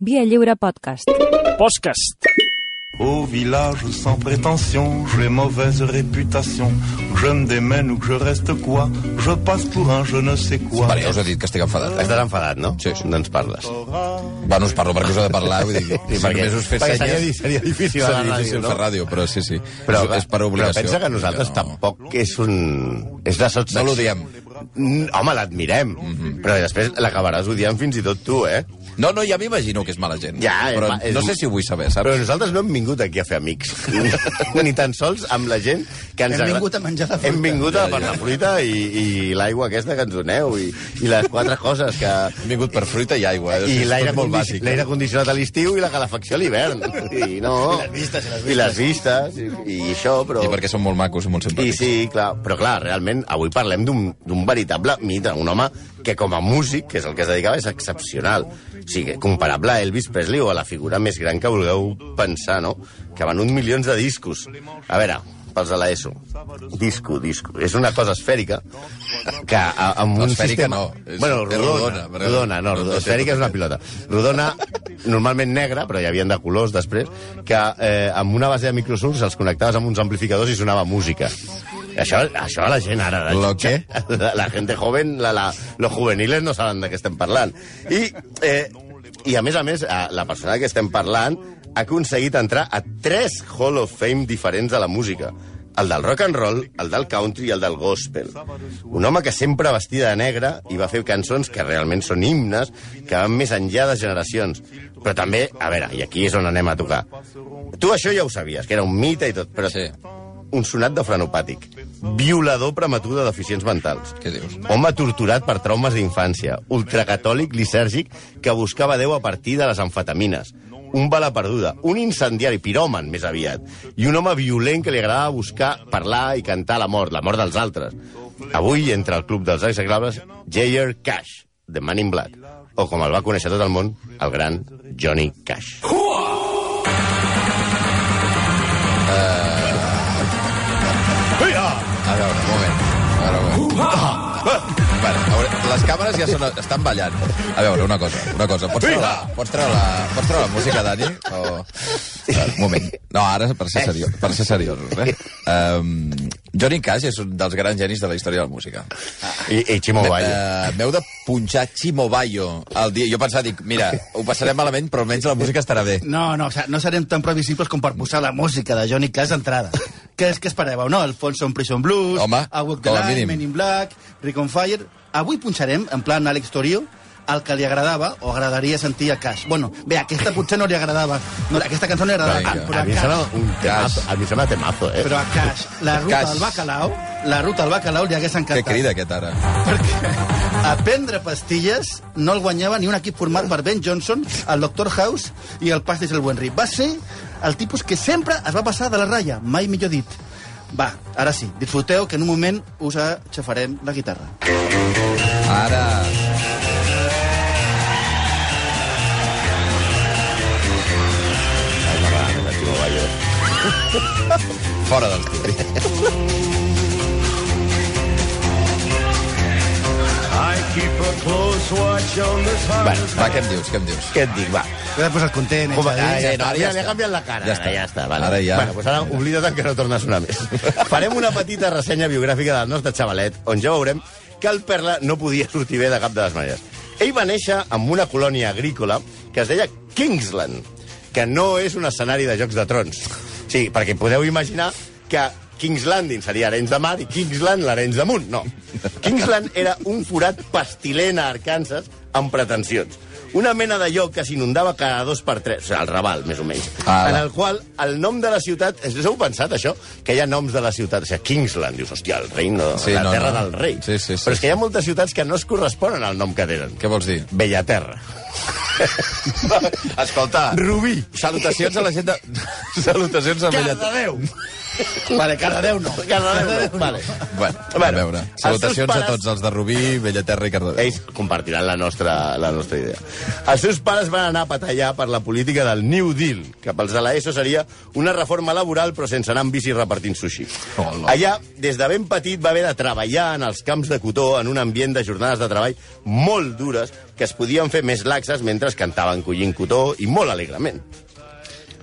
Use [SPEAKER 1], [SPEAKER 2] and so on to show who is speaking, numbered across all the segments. [SPEAKER 1] Via Lliure Podcast.
[SPEAKER 2] Podcast.
[SPEAKER 3] Au village sans prétention, j'ai mauvaise réputation. Que Je me démène ou que je reste quoi Je passe pour un je ne sais quoi.
[SPEAKER 4] Vale, ja us he dit que estic enfadat.
[SPEAKER 5] Estàs enfadat, no?
[SPEAKER 4] Sí, sí.
[SPEAKER 5] No ens parles.
[SPEAKER 4] Bueno, us parlo perquè us he de parlar, vull dir, sí, si
[SPEAKER 5] perquè-
[SPEAKER 4] només us fes
[SPEAKER 5] perquè
[SPEAKER 4] senyes...
[SPEAKER 5] seria di- seria difícil a la
[SPEAKER 4] seria difícil
[SPEAKER 5] ràdio, no?
[SPEAKER 4] fer ràdio, però sí, sí. Però, és, és per obligació.
[SPEAKER 5] Però pensa que nosaltres
[SPEAKER 4] No.
[SPEAKER 5] tampoc és un... És la
[SPEAKER 4] No
[SPEAKER 5] sotsecció.
[SPEAKER 4] Mhm. l'odiem.
[SPEAKER 5] Mm, Home, l'admirem. Mm -hmm. Però després l'acabaràs odiant fins i tot tu, eh?
[SPEAKER 4] No, no, ja m'imagino que és mala gent.
[SPEAKER 5] Ja, és
[SPEAKER 4] però
[SPEAKER 5] ma- és-
[SPEAKER 4] no sé si ho vull saber, saps?
[SPEAKER 5] Però nosaltres no hem vingut aquí a fer amics. Ni tan sols amb la gent que ens
[SPEAKER 6] Hem
[SPEAKER 5] agrada.
[SPEAKER 6] vingut a menjar la fruita.
[SPEAKER 5] Hem vingut a
[SPEAKER 4] Ja,
[SPEAKER 5] per
[SPEAKER 4] ja.
[SPEAKER 5] la fruita i, i l'aigua aquesta que ens doneu i, i les quatre coses que...
[SPEAKER 4] Hem vingut per fruita i aigua. eh?
[SPEAKER 5] I
[SPEAKER 4] És
[SPEAKER 5] l'aire
[SPEAKER 4] tot molt
[SPEAKER 5] condi
[SPEAKER 4] bàsic.
[SPEAKER 5] l'aire condicionat a l'estiu i la calefacció a l'hivern. I, no.
[SPEAKER 6] I les vistes, i les
[SPEAKER 5] I les vistes, i, i això, però...
[SPEAKER 4] I perquè són molt macos i molt
[SPEAKER 5] I
[SPEAKER 4] simpàtics.
[SPEAKER 5] sí, clar, però clar, realment, avui parlem d'un d'un veritable mite, un home que com a músic, que és el que es dedicava, és excepcional. O sigui, comparable a Elvis Presley o a la figura més gran que vulgueu pensar, no? Que van uns milions de discos. A veure, pels de l'ESO. Disco, disco. És una cosa esfèrica que a, amb un
[SPEAKER 4] Esfèrica
[SPEAKER 5] sistema...
[SPEAKER 4] no, és-
[SPEAKER 5] bueno,
[SPEAKER 4] és
[SPEAKER 5] rodona.
[SPEAKER 4] rodona, però-
[SPEAKER 5] Rodona, no,
[SPEAKER 4] no, no
[SPEAKER 5] rodona,
[SPEAKER 4] sé
[SPEAKER 5] esfèrica és una pilota. Rodona, normalment negra, però hi havia de colors després, que eh, amb una base de microsurfs els connectaves amb uns amplificadors i sonava música. Això, això a la gent ara... La,
[SPEAKER 4] Lo que?
[SPEAKER 5] La, la gente joven, la, la, los juveniles no saben de què estem parlant. I, eh, i a més a més, eh, la persona que estem parlant ha aconseguit entrar a tres Hall of Fame diferents de la música. El del rock and roll, el del country i el del gospel. Un home que sempre vestida de negre i va fer cançons que realment són himnes, que van més enllà de generacions. Però també, a veure, i aquí és on anem a tocar. Tu això ja ho sabies, que era un mite i tot, però
[SPEAKER 4] Sí.
[SPEAKER 5] un sonat de frenopàtic, violador prematur de deficients mentals.
[SPEAKER 4] Què dius?
[SPEAKER 5] Home torturat per traumes d'infància, ultracatòlic lisèrgic que buscava Déu a partir de les amfetamines, un bala perduda, un incendiari piròman, més aviat, i un home violent que li agradava buscar, parlar i cantar la mort, la mort dels altres. Avui, entre el club dels execrables, J.R. Cash, de Man in Black, o com el va conèixer tot el món, el gran Johnny Cash.
[SPEAKER 4] A veure, un moment. A veure, un moment. Ah, Vale, a veure, les càmeres ja són, estan ballant. A veure, una cosa, una cosa. Pots treure la, pots treure la, pots treure la música, Dani? O... A veure, un moment. No, ara per ser seriós. Per ser seriós eh? um, Johnny Cash és un dels grans genis de la història de la música.
[SPEAKER 5] I, i Chimo Bayo.
[SPEAKER 4] Uh, M'heu de punxar Chimo Bayo el dia. Jo pensava, dic, mira, ho passarem malament, però almenys la música estarà bé.
[SPEAKER 6] No, no, o sea, no serem tan previsibles com per posar la música de Johnny Cash d'entrada. Què és que esperàveu, no? El Folsom Prison Blues,
[SPEAKER 4] Home,
[SPEAKER 6] A Walk the
[SPEAKER 4] com a
[SPEAKER 6] Line,
[SPEAKER 4] mínim.
[SPEAKER 6] Men in Black, Rick on Fire... Avui punxarem, en plan Àlex Torio, el que li agradava o agradaria sentir a Cash. Bueno, bé, aquesta potser no li agradava. No, aquesta cançó no li agradava
[SPEAKER 4] Vinga.
[SPEAKER 6] tant, però
[SPEAKER 5] A
[SPEAKER 6] a
[SPEAKER 5] mi em sembla
[SPEAKER 6] Cash,
[SPEAKER 5] un temazo, a mi em sembla temazo, eh?
[SPEAKER 6] però a Cash, la ruta
[SPEAKER 4] Cash.
[SPEAKER 6] al bacalao, la ruta al bacalao li hagués
[SPEAKER 4] Que
[SPEAKER 6] encantat.
[SPEAKER 4] crida aquest ara.
[SPEAKER 6] perquè a prendre pastilles no el guanyava ni un equip format per Ben Johnson, el Dr. House i el Pastis el Buenri. Va ser el tipus que sempre es va passar de la ratlla, mai millor dit. Va, ara sí, disfruteu que en un moment us aixafarem la guitarra.
[SPEAKER 4] Ara... Fora dels tios.
[SPEAKER 5] Bueno,
[SPEAKER 4] Va, què em dius, què em dius?
[SPEAKER 5] què et dic, va.
[SPEAKER 6] He de posar content,
[SPEAKER 5] Com,
[SPEAKER 6] eh?
[SPEAKER 5] ara, ja,
[SPEAKER 4] ja no,
[SPEAKER 5] està,
[SPEAKER 4] ara
[SPEAKER 5] mira,
[SPEAKER 4] ja
[SPEAKER 5] li ha
[SPEAKER 4] està.
[SPEAKER 5] canviat la cara.
[SPEAKER 4] Ja
[SPEAKER 5] ara,
[SPEAKER 4] està.
[SPEAKER 5] ja està. Vale.
[SPEAKER 4] Ara ja.
[SPEAKER 5] Bueno, pues ara oblida't que no torna a sonar més. Farem una petita ressenya biogràfica del nostre xavalet, on ja veurem que el Perla no podia sortir bé de cap de les maneres. Ell va néixer en una colònia agrícola que es deia Kingsland, que no és un escenari de Jocs de Trons. Sí, perquè podeu imaginar que King's Landing seria Arenys de Mar i Kingsland l'Arenys damunt. No. Kingsland era un forat pestilent a Arkansas amb pretensions. Una mena de lloc que s'inundava cada dos per tres, o sigui, el Raval, més o menys,
[SPEAKER 4] Ala.
[SPEAKER 5] en el qual el nom de la ciutat... Us heu pensat, això? Que hi ha noms de la ciutat. O sigui, Kingsland, dius, hòstia, el reino,
[SPEAKER 4] Sí,
[SPEAKER 5] la
[SPEAKER 4] no,
[SPEAKER 5] terra
[SPEAKER 4] no.
[SPEAKER 5] del rei.
[SPEAKER 4] Sí, sí, sí,
[SPEAKER 5] Però és
[SPEAKER 4] sí.
[SPEAKER 5] que hi ha moltes ciutats que no es corresponen al nom que tenen.
[SPEAKER 4] Què vols dir?
[SPEAKER 5] Bellaterra.
[SPEAKER 4] Escolta,
[SPEAKER 5] Rubí.
[SPEAKER 4] salutacions a la gent de... Salutacions a Bella...
[SPEAKER 5] Cardedeu.
[SPEAKER 6] Vale, Cardedeu no.
[SPEAKER 5] Cardedeu no. Vale.
[SPEAKER 4] Bueno,
[SPEAKER 5] Bueno,
[SPEAKER 4] a veure.
[SPEAKER 5] els
[SPEAKER 4] Salutacions
[SPEAKER 5] teus pares-
[SPEAKER 4] a tots els de Rubí, Bellaterra i Cardedeu.
[SPEAKER 5] Ells compartiran la nostra, la nostra idea. Els seus pares van anar a batallar per la política del New Deal, que pels de l'ESO seria una reforma laboral però sense anar amb bici repartint sushi.
[SPEAKER 4] Hola.
[SPEAKER 5] Allà, des de ben petit, va haver de treballar en els camps de cotó en un ambient de jornades de treball molt dures que es podien fer més laxes mentre cantaven collint cotó i molt alegrement.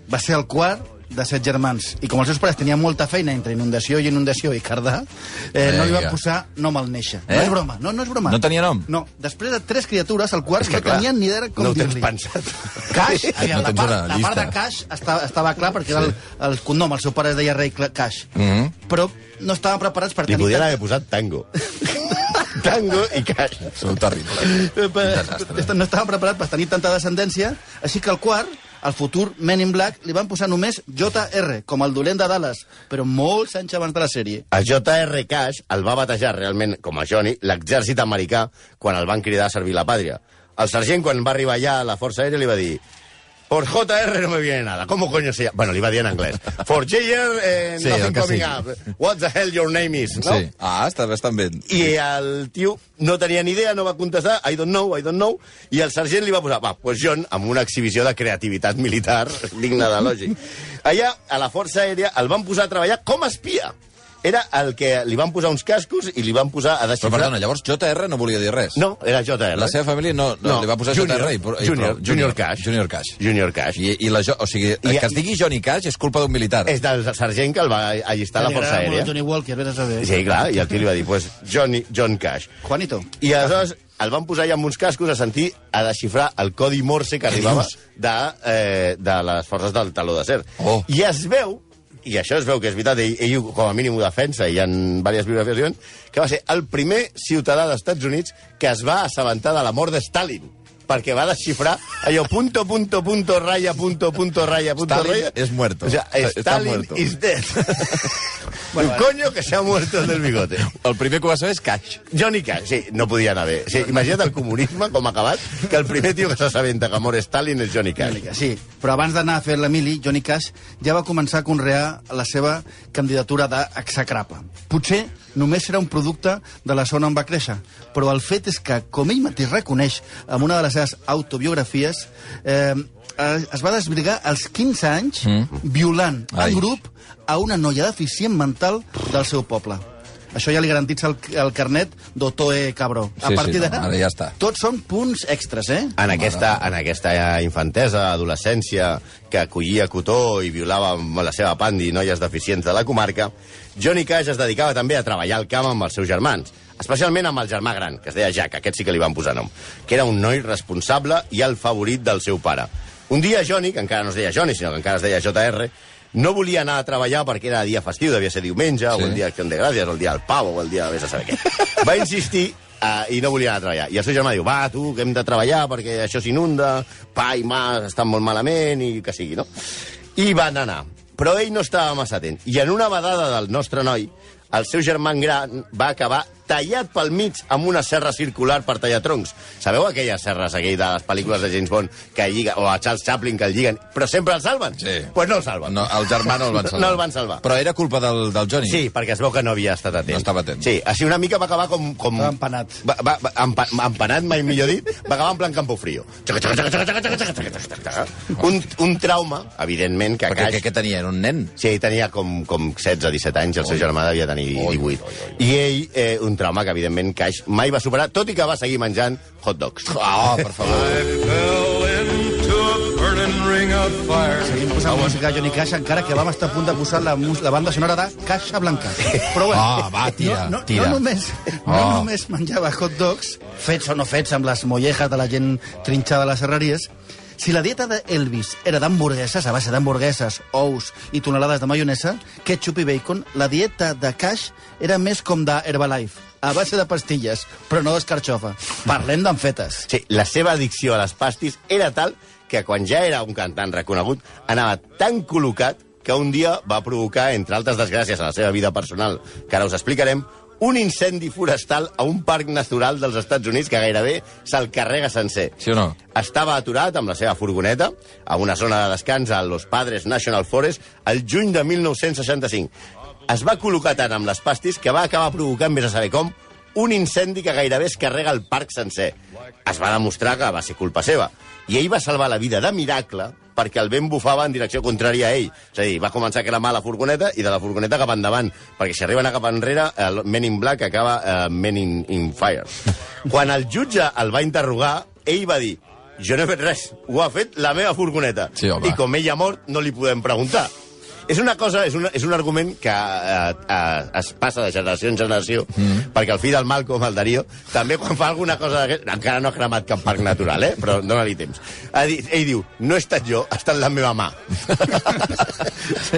[SPEAKER 6] Va ser el quart de set germans. I com els seus pares tenien molta feina entre inundació i inundació i cardà, eh, no li van
[SPEAKER 4] Vinga.
[SPEAKER 6] posar nom al néixer.
[SPEAKER 4] Eh?
[SPEAKER 6] No és broma, no, no és broma.
[SPEAKER 4] No tenia nom?
[SPEAKER 6] No. Després de tres criatures, el quart no
[SPEAKER 4] clar,
[SPEAKER 6] tenien ni idea com
[SPEAKER 5] no ho tens
[SPEAKER 6] dir-li.
[SPEAKER 5] pensat.
[SPEAKER 6] Caix, aviam,
[SPEAKER 4] No
[SPEAKER 6] la,
[SPEAKER 4] tens
[SPEAKER 6] part,
[SPEAKER 4] una
[SPEAKER 6] la part de
[SPEAKER 4] llista.
[SPEAKER 6] Caix estava, estava clar perquè era el, el cognom, el seu pare es deia rei Cla- Caix. Mm
[SPEAKER 4] Mhm.
[SPEAKER 6] Però no estaven preparats per
[SPEAKER 5] Li
[SPEAKER 6] tenir...
[SPEAKER 5] podien
[SPEAKER 6] tant-
[SPEAKER 5] haver posat tango. tango i caix.
[SPEAKER 4] Sou terrible.
[SPEAKER 6] Eh, per- no estava preparat per tenir tanta descendència, així que el quart, el futur Men in Black, li van posar només JR, com el dolent de Dallas, però molts anys abans de la sèrie.
[SPEAKER 5] A J.R. Cash el va batejar realment com a Johnny l'exèrcit americà quan el van cridar a servir la pàtria. El sergent, quan va arribar allà a la Força Aèria, li va dir Por JR no me viene nada. ¿Cómo coño se llama? Bueno, li va dir en anglès. For JR, eh,
[SPEAKER 4] Sí, el
[SPEAKER 5] nothing
[SPEAKER 4] que
[SPEAKER 5] coming
[SPEAKER 4] sigui.
[SPEAKER 5] up. What the hell your name is, no?
[SPEAKER 4] Sí. Ah, està bastant bé.
[SPEAKER 5] I el tio no tenia ni idea, no va contestar, I don't know, I don't know, i el sergent li va posar, va, pues John, amb una exhibició de creativitat militar digna de lògic. Allà, a la Força Aèria, el van posar a treballar com a espia. Era el que li van posar uns cascos i li van posar a
[SPEAKER 4] Però,
[SPEAKER 5] desxifrar...
[SPEAKER 4] perdona, llavors JR no volia dir res.
[SPEAKER 5] No, era JR.
[SPEAKER 4] La seva família no, no,
[SPEAKER 5] No,
[SPEAKER 4] li va posar
[SPEAKER 5] Junior,
[SPEAKER 4] JR. I, pro- i
[SPEAKER 5] Junior,
[SPEAKER 4] prou.
[SPEAKER 5] Junior Cash.
[SPEAKER 4] Junior Cash.
[SPEAKER 5] Junior Cash.
[SPEAKER 4] I, i la, jo- o sigui,
[SPEAKER 5] I-
[SPEAKER 4] que es digui Johnny Cash és culpa d'un militar.
[SPEAKER 5] És del sergent que el va allistar a la
[SPEAKER 6] Li
[SPEAKER 5] Força
[SPEAKER 6] agradava molt
[SPEAKER 5] Aèria.
[SPEAKER 6] Johnny Walker, vés a saber.
[SPEAKER 5] Sí, clar, i el tio li va dir, pues, Johnny, John Cash.
[SPEAKER 6] Juanito.
[SPEAKER 5] I aleshores el van posar allà amb uns cascos a sentir a desxifrar el codi morse que arribava
[SPEAKER 4] dius?
[SPEAKER 5] de, eh, de les forces del taló d'acer.
[SPEAKER 4] Oh.
[SPEAKER 5] I es veu, i això es veu que és veritat, ell, ell ho- com a mínim ho defensa, i hi ha diverses biografies, diuen, que va ser el primer ciutadà dels Estats Units que es va assabentar de la mort de Stalin perquè va desxifrar allò punto, punto, punto, raya, punto, punto, raya, punto,
[SPEAKER 4] Stalin
[SPEAKER 5] raya.
[SPEAKER 4] es muerto.
[SPEAKER 5] O sea,
[SPEAKER 4] Está- está
[SPEAKER 5] Stalin
[SPEAKER 4] muerto. eh.
[SPEAKER 5] is dead. bueno, coño que se ha muerto el del bigote.
[SPEAKER 4] El primer que ho va saber és Cash.
[SPEAKER 5] Johnny Cash, sí, no podia anar bé. Sí, imagina't el comunisme com ha acabat, que el primer tio que s'assabenta que mor Stalin és Johnny Cash.
[SPEAKER 6] Sí, però abans d'anar a fer l'Emili, Johnny Cash ja va començar a conrear la seva candidatura d'exacrapa. Potser només era un producte de la zona on va créixer, però el fet és que, com ell mateix reconeix en una de les seves autobiografies, eh, es es va desbrigar als 15 anys mm. violant
[SPEAKER 4] Ai.
[SPEAKER 6] en grup a una noia deficient mental del seu poble. Això ja li garantitza el, el carnet d'Otoe Cabró.
[SPEAKER 4] Sí, sí,
[SPEAKER 6] a partir
[SPEAKER 4] no,
[SPEAKER 6] d'ara,
[SPEAKER 4] ara ja està.
[SPEAKER 6] tots són punts extres, eh?
[SPEAKER 5] En aquesta, en aquesta eh, infantesa, adolescència, que acollia cotó i violava amb la seva pandi noies deficients de la comarca, Johnny Cash es dedicava també a treballar al camp amb els seus germans, especialment amb el germà gran, que es deia Jack, aquest sí que li van posar nom, que era un noi responsable i el favorit del seu pare. Un dia Johnny, que encara no es deia Johnny, sinó que encara es deia JR, no volia anar a treballar perquè era dia festiu, devia ser diumenge, sí. o
[SPEAKER 4] Sí.
[SPEAKER 5] el dia d'Acció de Gràcies, o el dia del Pau, o el dia de vés a saber què. Va insistir uh, i no volia anar a treballar. I el seu germà diu, va, tu, que hem de treballar perquè això s'inunda, pa i mà estan molt malament, i que sigui, no? I van anar. Però ell no estava massa atent. I en una vedada del nostre noi, el seu germà gran va acabar tallat pel mig amb una serra circular per tallar troncs. Sabeu aquelles serres aquell de les pel·lícules de James Bond que lliga, o a Charles Chaplin que el lliguen, però sempre el salven?
[SPEAKER 4] Sí.
[SPEAKER 5] Pues no el salven.
[SPEAKER 4] No, el germà no el van salvar.
[SPEAKER 5] No el van salvar.
[SPEAKER 4] Però era culpa del, del Johnny.
[SPEAKER 5] Sí, perquè es veu que no havia estat atent.
[SPEAKER 4] No estava atent.
[SPEAKER 5] Sí, així una mica va acabar com... com...
[SPEAKER 6] Estava empanat.
[SPEAKER 5] Va, va, va, empa, empanat, mai millor dit, va acabar en plan Campofrío. Xaca, xaca, xaca, xaca, xaca, xaca, xaca, xaca, xaca. Un, un trauma, evidentment, que
[SPEAKER 4] Perquè
[SPEAKER 5] Caix...
[SPEAKER 4] què, què tenia? Era un nen?
[SPEAKER 5] Sí, tenia com, com 16, 17 anys, el seu germà devia tenir 18. I ell, eh, un trauma que, evidentment, Caix mai va superar, tot i que va seguir menjant hot dogs.
[SPEAKER 4] Oh, per favor.
[SPEAKER 6] Seguim posant música a Johnny Cash, encara que vam estar a punt de posar la, mus- la banda sonora de Caixa Blanca. Però bueno,
[SPEAKER 4] Ah, va, tira,
[SPEAKER 6] no, no,
[SPEAKER 4] tira.
[SPEAKER 6] No només, no
[SPEAKER 4] Oh.
[SPEAKER 6] només menjava hot dogs, fets o no fets amb les mollejas de la gent trinxada a les serreries, si la dieta d'Elvis era d'hamburgueses, a base d'hamburgueses, ous i tonelades de maionesa, ketchup i bacon, la dieta de Cash era més com de Herbalife, a base de pastilles, però no d'escarxofa. Parlem d'enfetes.
[SPEAKER 5] Sí, la seva addicció a les pastis era tal que quan ja era un cantant reconegut anava tan col·locat que un dia va provocar, entre altres desgràcies a la seva vida personal, que ara us explicarem, un incendi forestal a un parc natural dels Estats Units que gairebé se'l carrega sencer.
[SPEAKER 4] Sí o no?
[SPEAKER 5] Estava aturat amb la seva furgoneta a una zona de descans a Los Padres National Forest el juny de 1965. Es va col·locar tant amb les pastis que va acabar provocant, més a saber com, un incendi que gairebé es carrega el parc sencer. Es va demostrar que va ser culpa seva. I ell va salvar la vida de miracle perquè el vent bufava en direcció contrària a ell. És a dir, va començar a cremar la furgoneta i de la furgoneta cap endavant, perquè si arriben a cap enrere, el Men in Black acaba eh, Men in, in Fire. Quan el jutge el va interrogar, ell va dir jo no he fet res, ho ha fet la meva furgoneta.
[SPEAKER 4] Sí, home.
[SPEAKER 5] I com ell ha mort, no li podem preguntar. És una cosa, és, una, és un argument que eh, eh, es passa de generació en generació, mm. perquè el fill del Malcolm, el Darío, també quan fa alguna cosa d'aquest... Encara no ha cremat cap parc natural, eh? però dóna-li temps. Ha dit, ell diu, no he estat jo, ha estat la meva mà.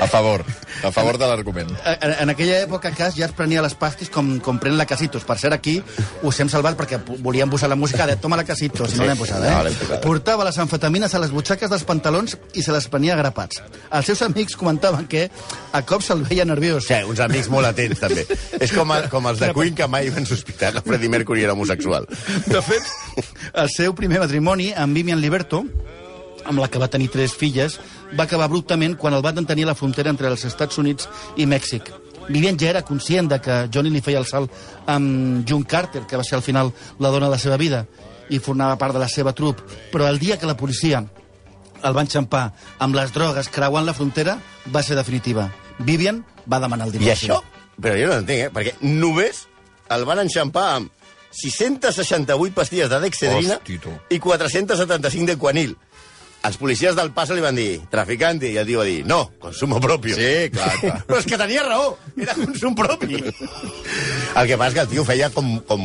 [SPEAKER 4] A favor. A favor de l'argument.
[SPEAKER 6] Eh, En, en aquella època, cas, ja es prenia les pastis com, com pren la Casitos. Per ser aquí, us hem salvat perquè po- volíem posar la música de Toma la Casitos, i no l'hem posada, eh?
[SPEAKER 5] No, l'hem posada.
[SPEAKER 6] Portava les amfetamines a les butxaques dels pantalons i se les prenia a grapats. Els seus amics comentaven que a cop se'l veia nerviós.
[SPEAKER 5] Sí, uns amics molt atents, també. És com, a, com els de Queen, que mai van sospitar que Freddie Mercury era homosexual.
[SPEAKER 6] De fet, el seu primer matrimoni amb Vivian Liberto, amb la que va tenir tres filles, va acabar abruptament quan el va detenir a la frontera entre els Estats Units i Mèxic. Vivian ja era conscient de que Johnny li feia el salt amb June Carter, que va ser al final la dona de la seva vida, i formava part de la seva trup. Però el dia que la policia el va enxampar amb les drogues creuant la frontera va ser definitiva. Vivian va demanar el
[SPEAKER 5] I
[SPEAKER 6] divorci.
[SPEAKER 5] això, però jo no entenc, eh? Perquè només el van enxampar amb 668 pastilles de dexedrina
[SPEAKER 4] Hosti, tu.
[SPEAKER 5] i 475 de quanil. Els policies del Paso li van dir traficante, i el tio va dir, no, consumo propio.
[SPEAKER 4] Sí, clar, clar.
[SPEAKER 5] Però és que tenia raó, era consum propi. El que passa és que el tio feia com, com,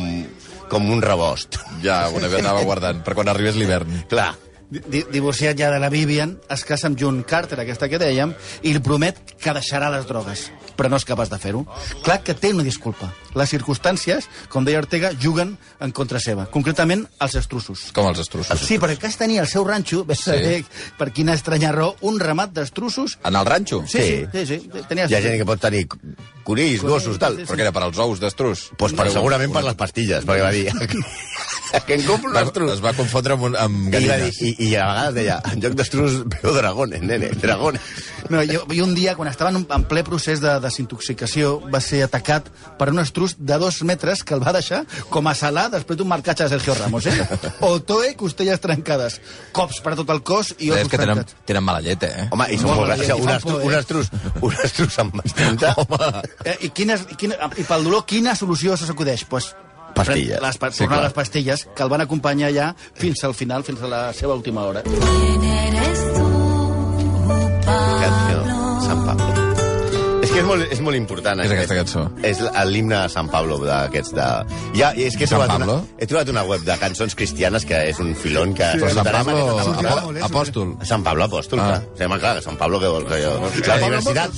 [SPEAKER 5] com un rebost.
[SPEAKER 4] Ja, ho anava guardant, per quan arribés l'hivern.
[SPEAKER 5] Clar.
[SPEAKER 6] Di- di- divorciat ja de la Vivian, es casa amb June Carter, aquesta que dèiem, i li promet que deixarà les drogues, però no és capaç de fer-ho. Clar que té una disculpa. Les circumstàncies, com deia Ortega, juguen en contra seva, concretament els estrussos.
[SPEAKER 4] Com els estrussos.
[SPEAKER 6] Sí, perquè cas tenia al seu ranxo, vés a
[SPEAKER 4] Sí.
[SPEAKER 6] saber per quina estranya raó, un ramat d'estrussos...
[SPEAKER 4] En el ranxo?
[SPEAKER 6] Sí, sí, sí, sí, tenia...
[SPEAKER 5] Hi ha gent que pot tenir conills, gossos, tal.
[SPEAKER 4] Però que era per als ous d'estrus?
[SPEAKER 5] Pues per, segurament per les pastilles, perquè va dir... que em compro
[SPEAKER 4] Va,
[SPEAKER 5] les trus.
[SPEAKER 4] es va confondre amb, un- amb
[SPEAKER 5] I, va dir,
[SPEAKER 4] gallines.
[SPEAKER 5] i, I a vegades deia, en lloc d'estrus veo dragones, nene, dragones.
[SPEAKER 6] No, jo, jo un dia, quan estava en, un- en ple procés de desintoxicació, va ser atacat per un estrus de dos metres que el va deixar com a salar després d'un marcatge de Sergio Ramos, eh? O toe, costelles trencades, cops per tot el cos i
[SPEAKER 4] És
[SPEAKER 6] ossos
[SPEAKER 4] que tenen,
[SPEAKER 6] trencats.
[SPEAKER 4] tenen mala llet, eh?
[SPEAKER 5] Home, i són
[SPEAKER 6] Molt
[SPEAKER 5] molt
[SPEAKER 6] bé,
[SPEAKER 5] gràcies.
[SPEAKER 6] i
[SPEAKER 5] Un,
[SPEAKER 6] fa
[SPEAKER 5] estru,
[SPEAKER 6] por, eh?
[SPEAKER 5] un estrus, un estrus amb bastanta. Home,
[SPEAKER 6] Eh, I quines, quina, i pel dolor, quina solució se s'acudeix? Pues,
[SPEAKER 5] Pastilles.
[SPEAKER 6] Les, pa-
[SPEAKER 5] Sí,
[SPEAKER 6] tornar
[SPEAKER 5] clar.
[SPEAKER 6] les pastilles, que el van acompanyar ja fins al final, fins a la seva última hora.
[SPEAKER 1] ¿Quién eres tú,
[SPEAKER 5] canció,
[SPEAKER 1] Pablo?
[SPEAKER 5] Sant Pablo. És que és molt, és molt important.
[SPEAKER 4] És
[SPEAKER 5] aquest.
[SPEAKER 4] aquesta cançó.
[SPEAKER 5] És l- l'himne de Sant Pablo, d'aquests de... Ja, i és que he
[SPEAKER 4] Sant
[SPEAKER 5] trobat, una,
[SPEAKER 4] Pablo?
[SPEAKER 5] he trobat una web de cançons cristianes que és un filón que...
[SPEAKER 4] Però Sant
[SPEAKER 5] Sortirà amb
[SPEAKER 4] Pablo,
[SPEAKER 5] aquesta
[SPEAKER 6] sortirà
[SPEAKER 4] apò-
[SPEAKER 6] molt, eh,
[SPEAKER 4] apòstol.
[SPEAKER 5] Sant Pablo Apòstol,
[SPEAKER 4] Ah.
[SPEAKER 5] ah. clar. Sí, home, clar, Sant Pablo, què vols que jo... La universitat...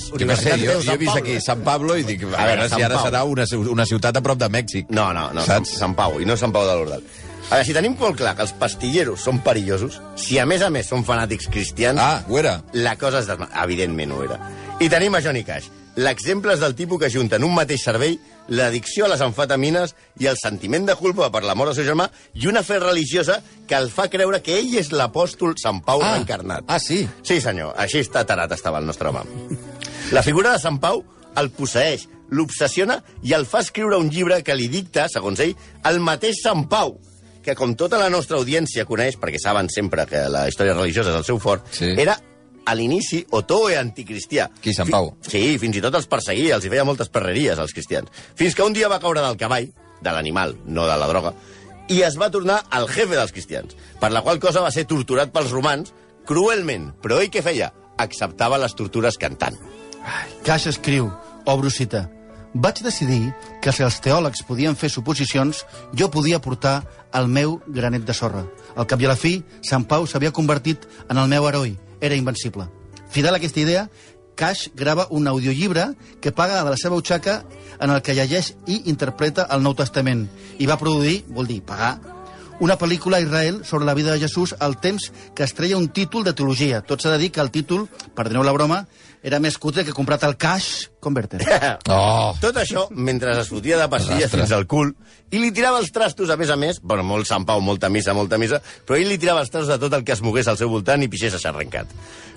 [SPEAKER 4] Jo no sé, jo,
[SPEAKER 5] universitat Déu
[SPEAKER 4] jo he
[SPEAKER 5] Sant
[SPEAKER 4] vist
[SPEAKER 5] Pablo.
[SPEAKER 4] aquí Sant Pablo i dic, a
[SPEAKER 5] veure,
[SPEAKER 4] veure si
[SPEAKER 5] Sant
[SPEAKER 4] ara
[SPEAKER 5] Pau.
[SPEAKER 4] serà una, ci- una ciutat a prop de Mèxic.
[SPEAKER 5] No, no, no,
[SPEAKER 4] Saps?
[SPEAKER 5] Saps? Sant Pau, i no Sant Pau de l'Ordal. A veure, si tenim molt clar que els pastilleros són perillosos, si a més a més són fanàtics cristians,
[SPEAKER 4] Ah, ho era.
[SPEAKER 5] la cosa es desma... Evidentment ho era. I tenim a Johnny Cash. L'exemple és del tipus que junta en un mateix cervell l'addicció a les amfetamines i el sentiment de culpa per la mort del seu germà i una fe religiosa que el fa creure que ell és l'apòstol Sant Pau
[SPEAKER 4] Ah,
[SPEAKER 5] reencarnat.
[SPEAKER 4] ah, sí?
[SPEAKER 5] Sí, senyor. Així està tarat estava el nostre home. La figura de Sant Pau el posseix, l'obsessiona i el fa escriure un llibre que li dicta, segons ell, el mateix Sant Pau, que com tota la nostra audiència coneix, perquè saben sempre que la història religiosa és el seu fort,
[SPEAKER 4] Sí.
[SPEAKER 5] era a l'inici otoe anticristià.
[SPEAKER 4] Qui, Sant Pau?
[SPEAKER 5] Fi- Sí, fins i tot els perseguia, els hi feia moltes perreries als cristians. Fins que un dia va caure del cavall, de l'animal, no de la droga, i es va tornar el jefe dels cristians, per la qual cosa va ser torturat pels romans, cruelment. Però ell què feia? Acceptava les tortures cantant.
[SPEAKER 6] Caix escriu, obro cita, vaig decidir que si els teòlegs podien fer suposicions, jo podia portar el meu granet de sorra. Al cap i a la fi, Sant Pau s'havia convertit en el meu heroi. Era invencible. Fidel a aquesta idea, Cash grava un audiollibre que paga de la seva butxaca en el que llegeix i interpreta el Nou Testament i va produir, vol dir, pagar, una pel·lícula a Israel sobre la vida de Jesús al temps que es treia un títol de teologia. Tot s'ha de dir que el títol, perdoneu la broma, era més cutre que comprat el cash converter.
[SPEAKER 4] Oh!
[SPEAKER 5] Tot això mentre es fotia de pastilles
[SPEAKER 4] Rastre.
[SPEAKER 5] fins al cul i li tirava els trastos, a més a més, bueno, molt Sant Pau, molta missa, molta missa, però ell li tirava els trastos a tot el que es mogués al seu voltant i pixés a ser arrencat.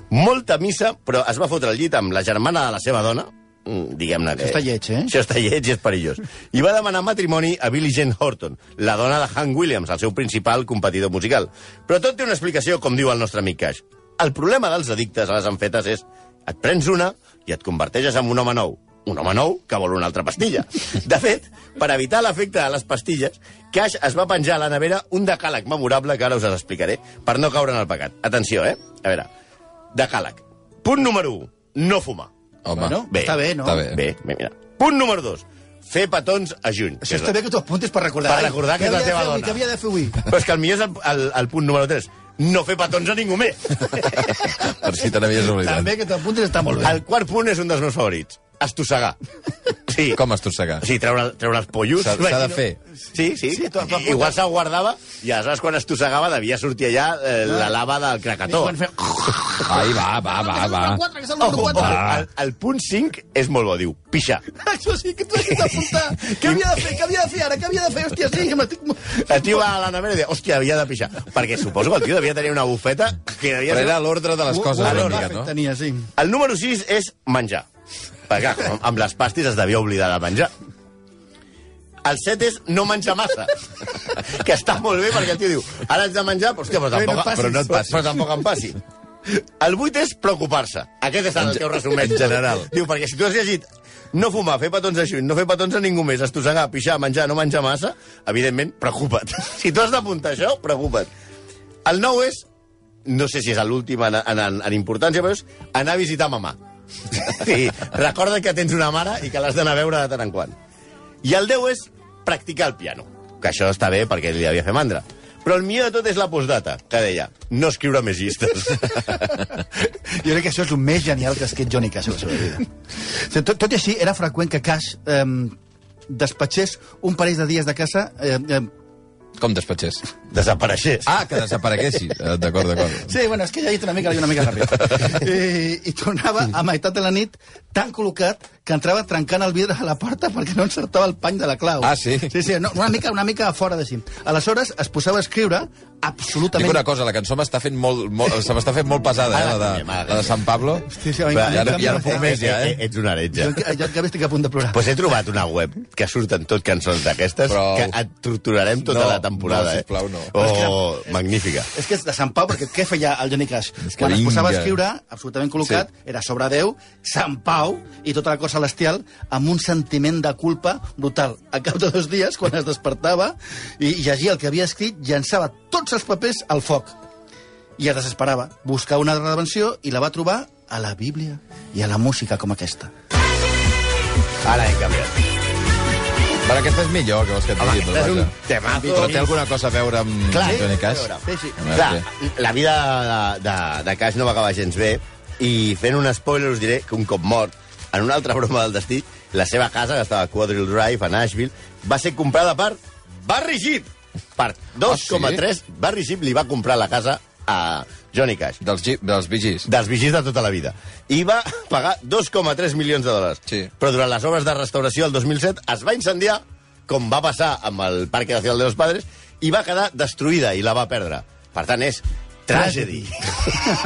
[SPEAKER 5] Molta missa, però es va fotre al llit amb la germana de la seva dona, mm, diguem-ne que...
[SPEAKER 6] Això està lleig, eh?
[SPEAKER 5] Això està lleig i és perillós. I va demanar matrimoni a Billie Jane Horton, la dona de Hank Williams, el seu principal competidor musical. Però tot té una explicació, com diu el nostre amic Cash. El problema dels addictes a les amfetes és et prens una i et converteixes en un home nou. Un home nou que vol una altra pastilla. De fet, per evitar l'efecte de les pastilles, Cash es va penjar a la nevera un decàleg memorable que ara us explicaré per no caure en el pecat. Atenció, eh? A veure, decàleg. Punt número 1, no fumar.
[SPEAKER 4] Home,
[SPEAKER 6] Bueno,
[SPEAKER 5] bé,
[SPEAKER 6] està bé, no?
[SPEAKER 4] està
[SPEAKER 5] Bé, bé, mira. Punt número 2, fer petons a juny.
[SPEAKER 6] Això està bé que t'ho apuntis per recordar.
[SPEAKER 5] Per recordar que és la teva dona.
[SPEAKER 6] Què havia de fer avui?
[SPEAKER 5] Però és que el millor és el, el, el punt número 3. No fer petons a ningú més.
[SPEAKER 4] Per si te n'havies oblidat.
[SPEAKER 6] També que t'ho apuntis està molt bé.
[SPEAKER 5] El quart punt és un dels meus favorits. Estossegar. Sí.
[SPEAKER 4] Com estossegar?
[SPEAKER 5] Sí, treure, treure els pollos.
[SPEAKER 4] S'ha- s'ha de
[SPEAKER 5] imagino.
[SPEAKER 4] fer.
[SPEAKER 5] Sí, sí.
[SPEAKER 6] Sí, tu- tu-
[SPEAKER 5] Igual se'l guardava i aleshores quan estossegava devia sortir allà eh, la lava del cracató.
[SPEAKER 6] Ah. Quan fe-
[SPEAKER 4] Ai, va, va, va, va.
[SPEAKER 6] Quatre, que és el
[SPEAKER 5] Ah, Oh,
[SPEAKER 6] número
[SPEAKER 5] oh,
[SPEAKER 6] quatre.
[SPEAKER 5] el, el punt 5 és molt bo, diu, pixar.
[SPEAKER 6] Això sí que t'ho has d'apuntar. Què havia de fer? Què havia de fer ara? Què havia de fer? Hòstia, sí, que m'estic... mo-
[SPEAKER 5] El tio va a la nevera i diu, hòstia, havia de pixar. Perquè suposo que el tio devia tenir una bufeta que devia
[SPEAKER 4] Però
[SPEAKER 5] ser-
[SPEAKER 4] era l'ordre de les coses,
[SPEAKER 5] Warren
[SPEAKER 4] una
[SPEAKER 5] Buffett
[SPEAKER 4] mica,
[SPEAKER 6] Perfecte,
[SPEAKER 4] no?
[SPEAKER 6] Tenia, sí.
[SPEAKER 5] El número 6 és menjar. Perquè, clar, amb- amb les pastis es devia oblidar de menjar. El 7 és no menjar massa. que està molt bé perquè el tio diu, ara haig de menjar, però, hòstia, però
[SPEAKER 6] Però no
[SPEAKER 5] tampoc,
[SPEAKER 6] et passis.
[SPEAKER 5] però no et passi. Però tampoc em passi. El 8 és preocupar-se. Aquest és el teu resumeix.
[SPEAKER 4] en general.
[SPEAKER 5] Diu, perquè si tu has llegit no fumar, fer petons a juny, no fer petons a ningú més, estossegar, pixar, menjar, no menjar massa, evidentment, preocupa't. Si tu has d'apuntar això, preocupa't. El 9 és, no sé si és l'últim en, en, en, en importància, però és anar a visitar mamà. Sí, recorda que tens una mare i que l'has d'anar a veure de tant en quant. I el 10 és practicar el piano, que això està bé perquè li havia fet mandra. Però el millor de tot és la postdata, que deia no escriure més llistes.
[SPEAKER 6] Jo crec que això és el més genial que ha escrit Johnny Cash a la seva vida. O sigui, Tot, tot i així, era freqüent que Cash eh, despatxés un parell de dies de casa eh, eh,
[SPEAKER 4] Com despatxés?
[SPEAKER 5] Desapareixés.
[SPEAKER 4] Ah, que desapareguessis. Eh, D'acord, d'acord.
[SPEAKER 6] Sí, bueno, és que ja he dit una mica, una mica ràpid. I, I tornava a meitat de la nit tan col·locat que entrava trencant el vidre a la porta perquè no encertava el pany de la clau.
[SPEAKER 4] Ah, sí?
[SPEAKER 6] Sí, sí, no, una mica, una mica fora de si. Aleshores es posava a escriure absolutament...
[SPEAKER 4] Dic una cosa, la cançó m'està fent molt, molt, se m'està fent molt pesada, eh, la de, la de Sant Pablo.
[SPEAKER 6] Hosti, sí, a mi
[SPEAKER 4] Va, ja,
[SPEAKER 6] m'encanta.
[SPEAKER 4] no, ja no puc més, ja,
[SPEAKER 5] Eh,
[SPEAKER 4] eh?
[SPEAKER 5] eh, Ets una heretge.
[SPEAKER 6] Jo, enca- jo encara estic a punt de plorar.
[SPEAKER 5] Pues he trobat una web que surten tot cançons d'aquestes
[SPEAKER 4] Prou.
[SPEAKER 5] que et torturarem tota
[SPEAKER 4] No,
[SPEAKER 5] la temporada.
[SPEAKER 4] no, sisplau, no.
[SPEAKER 5] Eh? Oh, magnífica.
[SPEAKER 6] És que és de Sant Pau, perquè què feia el Johnny Cash?
[SPEAKER 4] És que
[SPEAKER 6] Quan es posava a
[SPEAKER 4] vinga.
[SPEAKER 6] escriure, absolutament col·locat, sí. era sobre Déu, Sant Pau i tota la cosa celestial, amb un sentiment de culpa brutal. A cap de dos dies, quan es despertava i llegia el que havia escrit, llançava tots els papers al foc. I es desesperava. Buscava una redenció i la va trobar a la Bíblia i a la música com aquesta.
[SPEAKER 5] Ara he canviat.
[SPEAKER 4] Però aquesta és millor, que vols que et digui.
[SPEAKER 5] eh. aquest és
[SPEAKER 4] però,
[SPEAKER 5] un
[SPEAKER 4] vaja.
[SPEAKER 5] temazo.
[SPEAKER 4] Però té alguna cosa a veure amb
[SPEAKER 5] Clar,
[SPEAKER 4] Johnny
[SPEAKER 5] sí,
[SPEAKER 4] Cash?
[SPEAKER 5] a veure.
[SPEAKER 6] Mm, Sí, sí.
[SPEAKER 4] A
[SPEAKER 5] Clar,
[SPEAKER 4] veure què.
[SPEAKER 5] la vida de, de, de Cash no va acabar gens bé i fent un spoiler us diré que un cop mort, en una altra broma del destí, la seva casa, que estava a Quadril Drive, a Nashville, va ser comprada per Barry Gibb. Per 2,3,
[SPEAKER 4] Ah,
[SPEAKER 5] Barry Gibb li va comprar la casa a Johnny Cash.
[SPEAKER 4] Dels, G- dels Bee Gees.
[SPEAKER 5] dels vigis de tota la vida. I va pagar 2,3 milions de dòlars.
[SPEAKER 4] Sí.
[SPEAKER 5] Però durant les obres de restauració el 2007 es va incendiar, com va passar amb el Parque Nacional de los Padres, i va quedar destruïda i la va perdre. Per tant, és tragedy.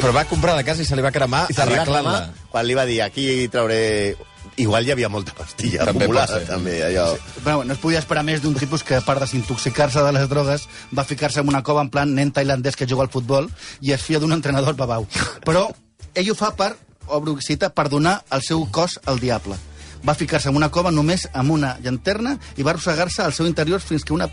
[SPEAKER 4] Però va comprar la casa i se li va cremar
[SPEAKER 5] Se li va
[SPEAKER 4] arreglant-la.
[SPEAKER 5] clamar Quan li va dir, aquí trauré... Igual hi havia molta pastilla
[SPEAKER 4] També
[SPEAKER 5] acumulada,
[SPEAKER 4] pot ser.
[SPEAKER 5] també, allò...
[SPEAKER 6] Però no es podia esperar més d'un tipus que, a part desintoxicar-se de les drogues, va ficar-se en una cova en plan nen tailandès que juga al futbol i es fia d'un entrenador babau. Però ell ho fa per, obro cita, per donar el seu cos al diable. Va ficar-se en una cova només amb una llanterna i va arrossegar-se al seu interior fins que una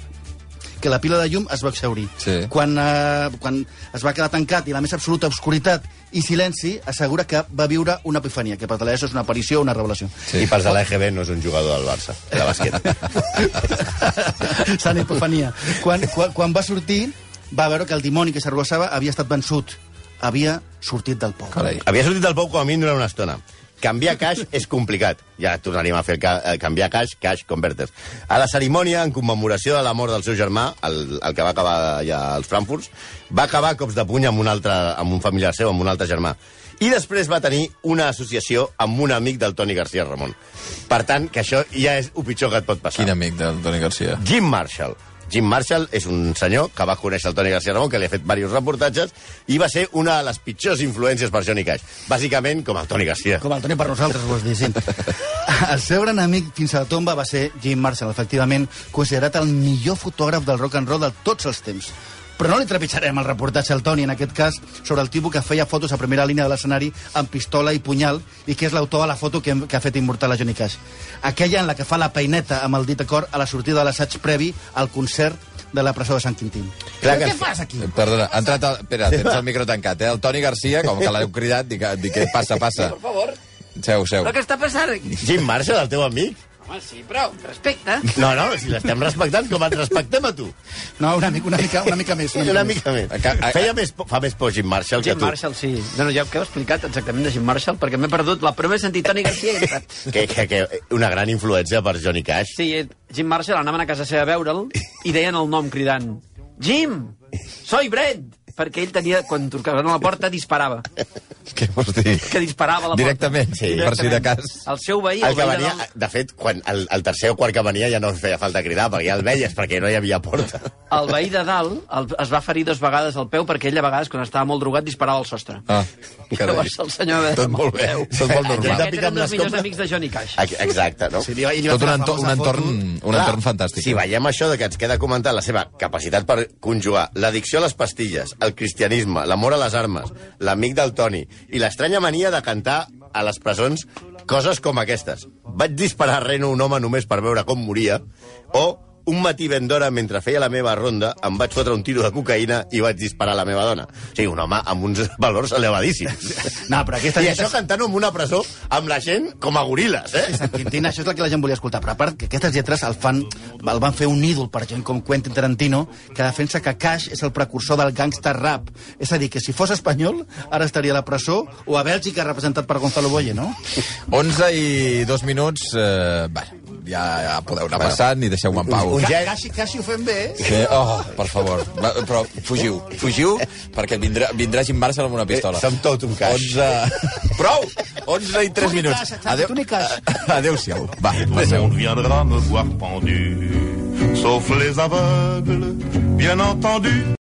[SPEAKER 6] que la pila de llum es va exaurir.
[SPEAKER 4] Sí.
[SPEAKER 6] Quan, eh, quan es va quedar tancat i la més absoluta obscuritat i silenci, assegura que va viure una epifania, que per Talaies és una aparició o una revelació.
[SPEAKER 4] Sí.
[SPEAKER 5] I pels de l'EGB no és un jugador del Barça, de bàsquet.
[SPEAKER 6] Sant Epifania. Quan, quan, quan va sortir, va veure que el dimoni que s'arrossava havia estat vençut. Havia sortit del pou.
[SPEAKER 4] Carai.
[SPEAKER 5] Havia sortit del pou com a mínim durant una estona. Canviar cash és complicat. Ja tornaríem a fer ca eh, canviar cash, cash converters. A la cerimònia, en commemoració de la mort del seu germà, el, el que va acabar ja als Frankfurts, va acabar a cops de puny amb un, altre, amb un familiar seu, amb un altre germà. I després va tenir una associació amb un amic del Toni García Ramon. Per tant, que això ja és el pitjor que et pot passar.
[SPEAKER 4] Quin amic del Toni Garcia.
[SPEAKER 5] Jim Marshall. Jim Marshall és un senyor que va conèixer el Toni García Ramon, que li ha fet diversos reportatges, i va ser una de les pitjors influències per Johnny Cash. Bàsicament, com el Toni García.
[SPEAKER 6] Com el Toni per nosaltres, vols dir, sí. El seu gran amic fins a la tomba va ser Jim Marshall, efectivament, considerat el millor fotògraf del rock and roll de tots els temps. Però no li trepitjarem el reportatge al Toni, en aquest cas, sobre el tipus que feia fotos a primera línia de l'escenari amb pistola i punyal i que és l'autor de la foto que, hem- que ha fet immortal a Johnny Cash. Aquella en la que fa la peineta amb el dit a cor a la sortida de l'assaig previ al concert de la presó de Sant Quintín.
[SPEAKER 5] Clar que-
[SPEAKER 6] Però què passa aquí?
[SPEAKER 4] Perdona, ha entrat... El... Espera, tens el micro tancat, eh? El Toni Garcia, com que l'heu cridat, dic, dic que passa, passa.
[SPEAKER 2] Por favor,
[SPEAKER 4] Seu, seu.
[SPEAKER 2] lo que está pasando aquí.
[SPEAKER 5] Jim Marshall, el teu amic?
[SPEAKER 2] Home, sí, però, respecte.
[SPEAKER 5] No, no, si l'estem respectant, com et respectem a tu.
[SPEAKER 6] No, una mica, una mica, una mica més.
[SPEAKER 5] Una mica més.
[SPEAKER 4] Ca- a-
[SPEAKER 5] Feia més por, fa més por Jim Marshall que
[SPEAKER 2] Jim
[SPEAKER 5] tu.
[SPEAKER 2] Marshall, sí. No, no, ja que heu explicat exactament de Jim Marshall, perquè m'he perdut. La prova he sentit Toni Garcia i he entrat.
[SPEAKER 5] Que, que, que una gran influència per Johnny Cash.
[SPEAKER 2] Sí, Jim Marshall, anaven a casa seva a veure'l i deien el nom cridant Jim, soy Brent! Perquè ell tenia, quan trucaven a la porta, disparava.
[SPEAKER 4] Què vols dir?
[SPEAKER 2] Que disparava a la porta.
[SPEAKER 4] Directament, sí, per si de cas.
[SPEAKER 2] El seu veí...
[SPEAKER 5] El que
[SPEAKER 2] veí de
[SPEAKER 5] venia,
[SPEAKER 2] dalt-
[SPEAKER 5] de fet, quan el, el tercer o quart que venia ja no feia falta cridar, perquè ja el veies, perquè no hi havia porta.
[SPEAKER 2] El veí de dalt el, es va ferir dues vegades al peu perquè ell, a vegades, quan estava molt drogat, disparava al sostre.
[SPEAKER 4] Ah,
[SPEAKER 2] Llavors el senyor...
[SPEAKER 4] Tot molt bé, tot molt normal.
[SPEAKER 5] de
[SPEAKER 2] Aquests
[SPEAKER 5] picar amb
[SPEAKER 2] eren dels
[SPEAKER 5] les
[SPEAKER 2] millors
[SPEAKER 5] compres.
[SPEAKER 2] amics de Johnny Cash.
[SPEAKER 5] Ac- Exacte, no?
[SPEAKER 6] Sí, li va- li va
[SPEAKER 4] Tot
[SPEAKER 6] fer
[SPEAKER 4] un,
[SPEAKER 6] la
[SPEAKER 4] entorn, un,
[SPEAKER 6] famosa
[SPEAKER 4] entorn,
[SPEAKER 6] foto.
[SPEAKER 4] un entorn fantàstic. eh?
[SPEAKER 5] Si veiem això de que ens queda comentar la seva capacitat per conjugar l'addicció a les pastilles, el cristianisme, l'amor a les armes, l'amic del Toni i l'estranya mania de cantar a les presons coses com aquestes. Vaig disparar a Reno un home només per veure com moria o un matí ben d'hora, mentre feia la meva ronda, em vaig fotre un tiro de cocaïna i vaig disparar a la meva dona. O sigui, un home amb uns valors elevadíssims.
[SPEAKER 6] No, però aquesta
[SPEAKER 5] I
[SPEAKER 6] gent
[SPEAKER 5] això cantant en una presó amb la gent com a goril·les, eh?
[SPEAKER 6] Sant Quintín, això és el que la gent volia escoltar. Però a part, que aquestes lletres el, fan, el van fer un ídol per gent com Quentin Tarantino, que defensa que Cash és el precursor del gangster rap. És a dir, que si fos espanyol, ara estaria a la presó o a Bèlgica representat per Gonzalo Boye, no?
[SPEAKER 4] 11 i 2 minuts, eh, bueno, ja, ja podeu anar passant i deixeu-me en pau.
[SPEAKER 5] Un gest-
[SPEAKER 6] Cash, Cash ho fem bé, eh?
[SPEAKER 4] Que, oh, per favor, va, però fugiu, fugiu, perquè vindrà, vindrà Jim Marshall amb una pistola.
[SPEAKER 5] Eh, som tot un caix.
[SPEAKER 4] 11... Prou! 11 i 3
[SPEAKER 6] Tu ni
[SPEAKER 4] minuts.
[SPEAKER 6] caixa, Xavi, tu ni caixa.
[SPEAKER 4] Adéu-siau. Va,
[SPEAKER 3] On
[SPEAKER 4] passeu.
[SPEAKER 3] viendra me voir pendu, sauf les aveugles, bien entendu.